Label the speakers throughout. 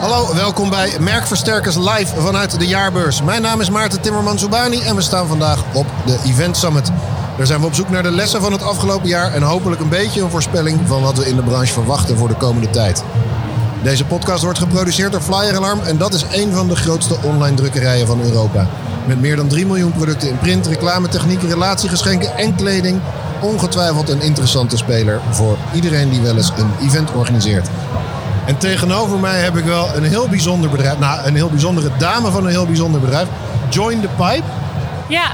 Speaker 1: Hallo, welkom bij Merkversterkers Live vanuit de jaarbeurs. Mijn naam is Maarten Timmerman-Zoubani en we staan vandaag op de Event Summit. Daar zijn we op zoek naar de lessen van het afgelopen jaar en hopelijk een beetje een voorspelling van wat we in de branche verwachten voor de komende tijd. Deze podcast wordt geproduceerd door Flyer Alarm en dat is een van de grootste online drukkerijen van Europa. Met meer dan 3 miljoen producten in print, reclametechniek, relatiegeschenken en kleding. Ongetwijfeld een interessante speler voor iedereen die wel eens een event organiseert. En tegenover mij heb ik wel een heel bijzonder bedrijf. Nou, een heel bijzondere dame van een heel bijzonder bedrijf. Join the Pipe.
Speaker 2: Ja,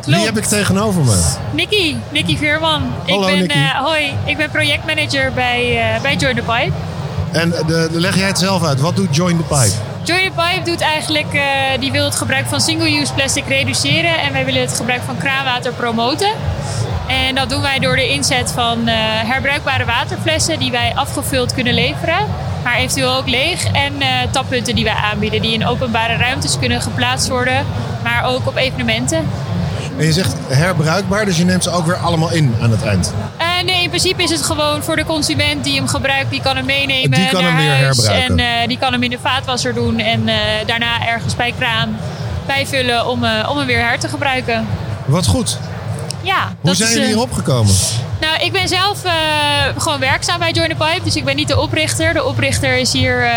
Speaker 2: klopt.
Speaker 1: Die heb ik tegenover me.
Speaker 2: Nikki, Nikki Veerman.
Speaker 1: Hallo,
Speaker 2: ik ben,
Speaker 1: Nikki.
Speaker 2: eh, hoi, ik ben projectmanager bij, eh, bij Join the Pipe.
Speaker 1: En de, de- leg jij het zelf uit. Wat doet Join the Pipe?
Speaker 2: Join the Pipe doet eigenlijk, eh, die wil het gebruik van single-use plastic reduceren en wij willen het gebruik van kraanwater promoten. En dat doen wij door de inzet van eh, herbruikbare waterflessen die wij afgevuld kunnen leveren, maar eventueel ook leeg. En eh, tappunten die wij aanbieden, die in openbare ruimtes kunnen geplaatst worden, maar ook op evenementen.
Speaker 1: En je zegt herbruikbaar, dus je neemt ze ook weer allemaal in aan het eind.
Speaker 2: Eh, nee, in principe is het gewoon voor de consument die hem gebruikt, die kan hem meenemen
Speaker 1: Die kan
Speaker 2: naar
Speaker 1: hem weer
Speaker 2: huis.
Speaker 1: herbruiken.
Speaker 2: En eh, die kan hem in de vaatwasser doen en eh, daarna ergens bij kraan bijvullen om, eh, om hem weer her te gebruiken.
Speaker 1: Wat goed.
Speaker 2: Ja,
Speaker 1: Hoe
Speaker 2: dat
Speaker 1: zijn
Speaker 2: is,
Speaker 1: jullie
Speaker 2: eh,
Speaker 1: hierop gekomen?
Speaker 2: Nou, ik ben zelf eh, gewoon werkzaam bij Join the Pipe, dus ik ben niet de oprichter. De oprichter is hier eh,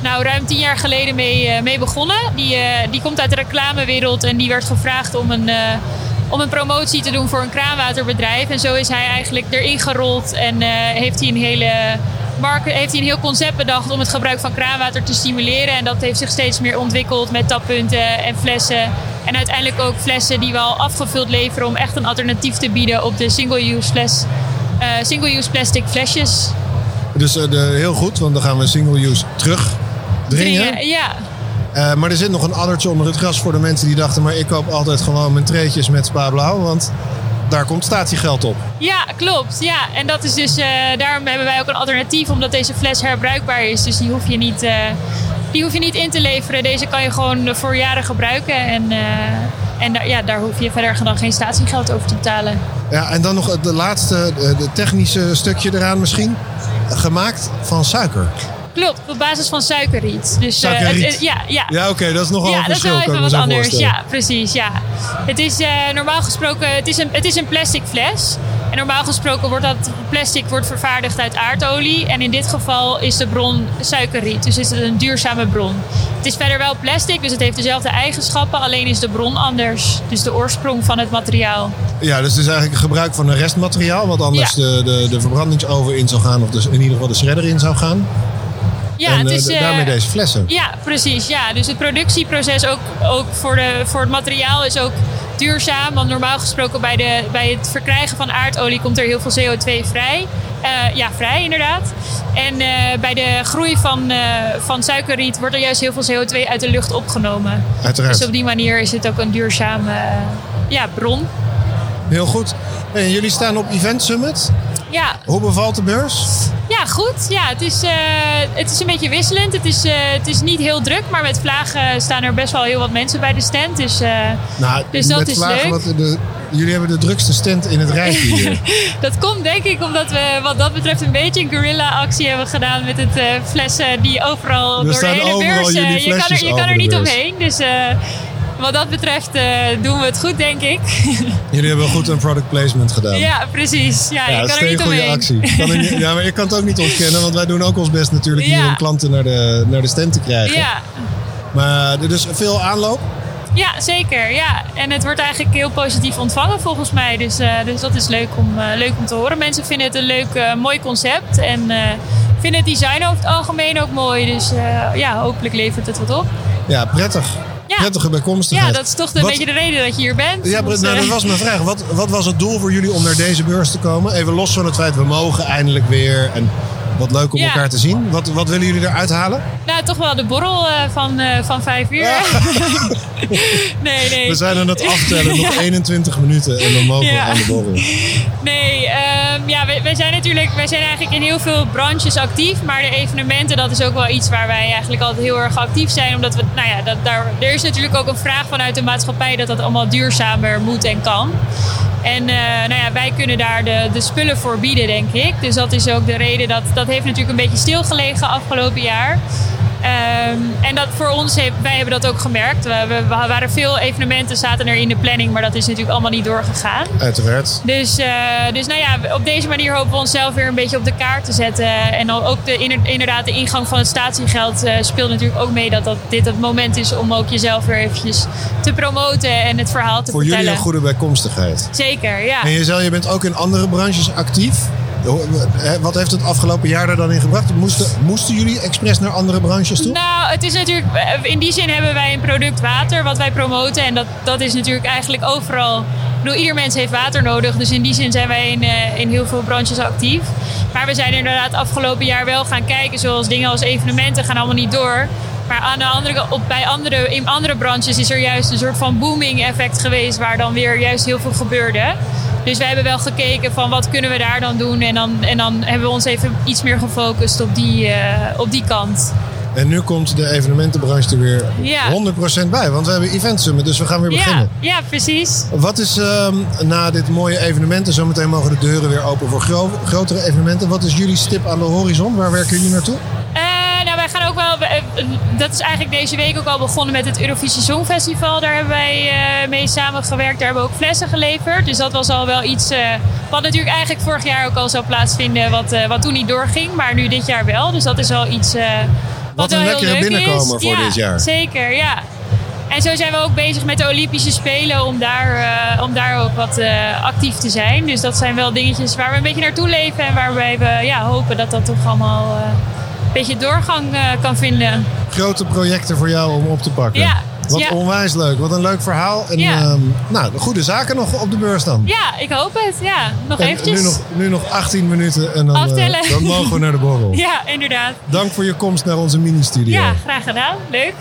Speaker 2: nou, ruim tien jaar geleden mee, eh, mee begonnen. Die, eh, die komt uit de reclamewereld en die werd gevraagd om een, eh, om een promotie te doen voor een kraanwaterbedrijf. En zo is hij eigenlijk erin gerold en eh, heeft hij een hele... mark- heeft hij een heel concept bedacht om het gebruik van kraanwater te stimuleren. En dat heeft zich steeds meer ontwikkeld met tappunten en flessen. En uiteindelijk ook flessen die we al afgevuld leveren om echt een alternatief te bieden op de single-use fles, eh, single-use plastic flesjes.
Speaker 1: Dus eh, de, heel goed, want dan gaan we single use terug dringen.
Speaker 2: Dringen, Ja,
Speaker 1: Eh, maar er zit nog een addertje onder het gras voor de mensen die dachten... maar ik koop altijd gewoon mijn treetjes met Spa Blauw, want daar komt statiegeld op.
Speaker 2: ja, klopt. Ja. En dat is dus, eh, daarom hebben wij ook een alternatief, omdat deze fles herbruikbaar is. Dus die hoef je niet, eh, die hoef je niet in te leveren. Deze kan je gewoon voor jaren gebruiken. En, eh, en daar, ja, daar hoef je verder dan geen statiegeld over te betalen.
Speaker 1: Ja, en dan nog het de laatste, eh, de technische stukje eraan misschien. Gemaakt van suiker.
Speaker 2: Klopt, op basis van suikerriet. Dus, eh, het-
Speaker 1: Suikerriet.
Speaker 2: het- ja, ja.
Speaker 1: Ja, oké, dat is nogal
Speaker 2: Ja,
Speaker 1: een
Speaker 2: dat is
Speaker 1: verschil.
Speaker 2: wel
Speaker 1: kan
Speaker 2: even
Speaker 1: ik me
Speaker 2: wat
Speaker 1: zo
Speaker 2: anders.
Speaker 1: voorstellen.
Speaker 2: Ja, precies. Ja. Het is eh, normaal gesproken, het is, een, het is een plastic fles. En normaal gesproken wordt dat plastic wordt vervaardigd uit aardolie. En in dit geval is de bron suikerriet. Dus is het een duurzame bron. Het is verder wel plastic, dus het heeft dezelfde eigenschappen. Alleen is de bron anders. Dus de oorsprong van het materiaal.
Speaker 1: Ja, dus het is eigenlijk gebruik van een restmateriaal, wat anders
Speaker 2: Ja.
Speaker 1: de, de, de verbrandingsoven in zou gaan, of dus in ieder geval de shredder in zou gaan.
Speaker 2: Ja,
Speaker 1: en
Speaker 2: het
Speaker 1: eh,
Speaker 2: is,
Speaker 1: da-
Speaker 2: eh,
Speaker 1: daarmee deze flessen.
Speaker 2: Ja, precies. Ja. Dus het productieproces ook, ook voor, de, voor het materiaal is ook duurzaam. Want normaal gesproken bij, de, bij het verkrijgen van aardolie komt er heel veel CO2 vrij. Eh, ja, vrij inderdaad. En eh, bij de groei van, eh, van suikerriet wordt er juist heel veel CO2 uit de lucht opgenomen.
Speaker 1: Uiteraard.
Speaker 2: Dus op die manier is het ook een duurzame eh, ja, bron.
Speaker 1: Heel goed. En jullie staan op Event Summit.
Speaker 2: Ja,
Speaker 1: Hoe bevalt de beurs?
Speaker 2: Ja, goed. Ja, het, is, eh, het is een beetje wisselend. Het is, eh, het is niet heel druk, maar met vlagen staan er best wel heel wat mensen bij de stand. Dus, eh,
Speaker 1: Nou,
Speaker 2: Dus dat
Speaker 1: met
Speaker 2: is
Speaker 1: vlagen,
Speaker 2: leuk.
Speaker 1: want de- jullie hebben de drukste stand in het rijtje hier.
Speaker 2: dat komt denk ik omdat we wat dat betreft een beetje een guerrilla-actie hebben gedaan met het eh, flessen die overal door
Speaker 1: staan
Speaker 2: de hele
Speaker 1: overal
Speaker 2: beurs... eh,
Speaker 1: jullie
Speaker 2: je kan
Speaker 1: flesjes
Speaker 2: er, je kan
Speaker 1: over
Speaker 2: er
Speaker 1: de
Speaker 2: niet
Speaker 1: beurs.
Speaker 2: omheen, dus... eh, wat dat betreft eh, doen we het goed, denk ik.
Speaker 1: Jullie hebben goed een product placement gedaan.
Speaker 2: ja, precies. Ja,
Speaker 1: Ja,
Speaker 2: je
Speaker 1: dat
Speaker 2: kan
Speaker 1: is
Speaker 2: er
Speaker 1: een
Speaker 2: niet
Speaker 1: goede
Speaker 2: omheen.
Speaker 1: actie. Kan er niet- ja, maar ik kan het ook niet ontkennen, want wij doen ook ons best natuurlijk hier
Speaker 2: Ja.
Speaker 1: om klanten naar de, naar de stand te krijgen.
Speaker 2: Ja,
Speaker 1: Maar er is veel aanloop.
Speaker 2: Ja, zeker. Ja. En het wordt eigenlijk heel positief ontvangen volgens mij. Dus, eh, dus dat is leuk om, eh, leuk om te horen. Mensen vinden het een leuk, eh, mooi concept. En eh, vinden het design over het algemeen ook mooi. Dus eh, ja, hopelijk levert het wat op.
Speaker 1: Ja, prettig.
Speaker 2: Ja.
Speaker 1: Prettige bijkomstigheid.
Speaker 2: Ja, dat is toch een
Speaker 1: Wat-
Speaker 2: beetje de reden dat je hier bent.
Speaker 1: Ja,
Speaker 2: Want,
Speaker 1: Britt, nou,
Speaker 2: eh,
Speaker 1: dat was mijn vraag. Wat, wat was het doel voor jullie om naar deze beurs te komen? Even los van het feit, we mogen eindelijk weer. En wat leuk om
Speaker 2: Ja.
Speaker 1: elkaar te zien. Wat, wat willen jullie eruit halen?
Speaker 2: nou, toch wel de borrel eh, van, eh, van vijf uur.
Speaker 1: Ja.
Speaker 2: nee, nee.
Speaker 1: We zijn aan het aftellen. Nog 21 minuten en dan mogen
Speaker 2: Ja.
Speaker 1: we aan de borrel.
Speaker 2: Nee, ehm, ja, wij, wij zijn natuurlijk wij zijn eigenlijk in heel veel branches actief. Maar de evenementen, dat is ook wel iets waar wij eigenlijk altijd heel erg actief zijn. Omdat we, nou ja, dat, daar, er is natuurlijk ook een vraag vanuit de maatschappij dat dat allemaal duurzamer moet en kan. En eh, nou ja, wij kunnen daar de, de spullen voor bieden, denk ik. Dus dat is ook de reden dat dat heeft natuurlijk een beetje stilgelegen afgelopen jaar. Ehm, en dat voor ons, heeft, wij hebben dat ook gemerkt. We, we, we waren veel evenementen, zaten er in de planning, maar dat is natuurlijk allemaal niet doorgegaan.
Speaker 1: Uiteraard.
Speaker 2: Dus, eh, dus nou ja, op deze manier hopen we onszelf weer een beetje op de kaart te zetten. En dan ook de, inner- inderdaad de ingang van het statiegeld eh, speelt natuurlijk ook mee dat, dat dit het moment is om ook jezelf weer eventjes te promoten en het verhaal te
Speaker 1: Voor jullie
Speaker 2: vertellen.
Speaker 1: een goede bijkomstigheid.
Speaker 2: Zeker, ja.
Speaker 1: En Jezel, je bent ook in andere branches actief. Hoe- hè, Wat heeft het afgelopen jaar daar dan in gebracht? Moesten, moesten jullie expres naar andere branches toe?
Speaker 2: Nou, het is natuurlijk. eh, In die zin hebben wij een product water wat wij promoten. En dat, dat is natuurlijk eigenlijk overal. Ik bedoel, ieder mens heeft water nodig. Dus in die zin zijn wij in, eh, in heel veel branches actief. Maar we zijn inderdaad afgelopen jaar wel gaan kijken. Zoals dingen als evenementen gaan allemaal niet door. Maar aan de andere, kant- op, bij andere, in andere branches is er juist een soort van booming effect geweest. Waar dan weer juist heel veel gebeurde. Dus wij hebben wel gekeken van wat kunnen we daar dan doen. En dan, en dan hebben we ons even iets meer gefocust op die, eh, op die kant.
Speaker 1: En nu komt de evenementenbranche er weer
Speaker 2: Ja.
Speaker 1: 100% bij. Want we hebben Event Summit, dus we gaan weer
Speaker 2: Ja,
Speaker 1: beginnen.
Speaker 2: ja, precies.
Speaker 1: Wat is ehm, na dit mooie evenement, en zometeen mogen de deuren weer open voor gro- grotere evenementen. Wat is jullie stip aan de horizon? Waar werken jullie naartoe?
Speaker 2: Eh, nou, wij gaan ook wel. we- eh, dat is eigenlijk deze week ook al begonnen met het Eurovisie Songfestival. Daar hebben wij eh mee samengewerkt. Daar hebben we ook flessen geleverd. Dus dat was al wel iets. eh, wat natuurlijk eigenlijk vorig jaar ook al zou plaatsvinden. Wat, eh, wat toen niet doorging, maar nu dit jaar wel. Dus dat is wel iets. eh,
Speaker 1: Wat een
Speaker 2: wel heel
Speaker 1: lekkere
Speaker 2: leuk
Speaker 1: binnenkomer
Speaker 2: is.
Speaker 1: voor
Speaker 2: Ja,
Speaker 1: dit jaar.
Speaker 2: Zeker, ja. En zo zijn we ook bezig met de Olympische Spelen om daar, eh, om daar ook wat eh, actief te zijn. Dus dat zijn wel dingetjes waar we een beetje naartoe leven en waarbij we ja, hopen dat dat toch allemaal eh, een beetje doorgang eh, kan vinden.
Speaker 1: Grote projecten voor jou om op te pakken.
Speaker 2: Ja,
Speaker 1: Wat
Speaker 2: ja.
Speaker 1: onwijs leuk, wat een leuk verhaal. En
Speaker 2: Ja.
Speaker 1: ehm, nou, de goede zaken nog op de beurs dan.
Speaker 2: Ja, ik hoop het. Ja, nog
Speaker 1: En
Speaker 2: eventjes.
Speaker 1: Nu, nog, nu nog 18 minuten en dan, eh,
Speaker 2: dus. Aftellen.
Speaker 1: dan mogen we naar de borrel.
Speaker 2: Ja, inderdaad.
Speaker 1: Dank voor je komst naar onze mini-studio.
Speaker 2: Ja, graag gedaan. Leuk.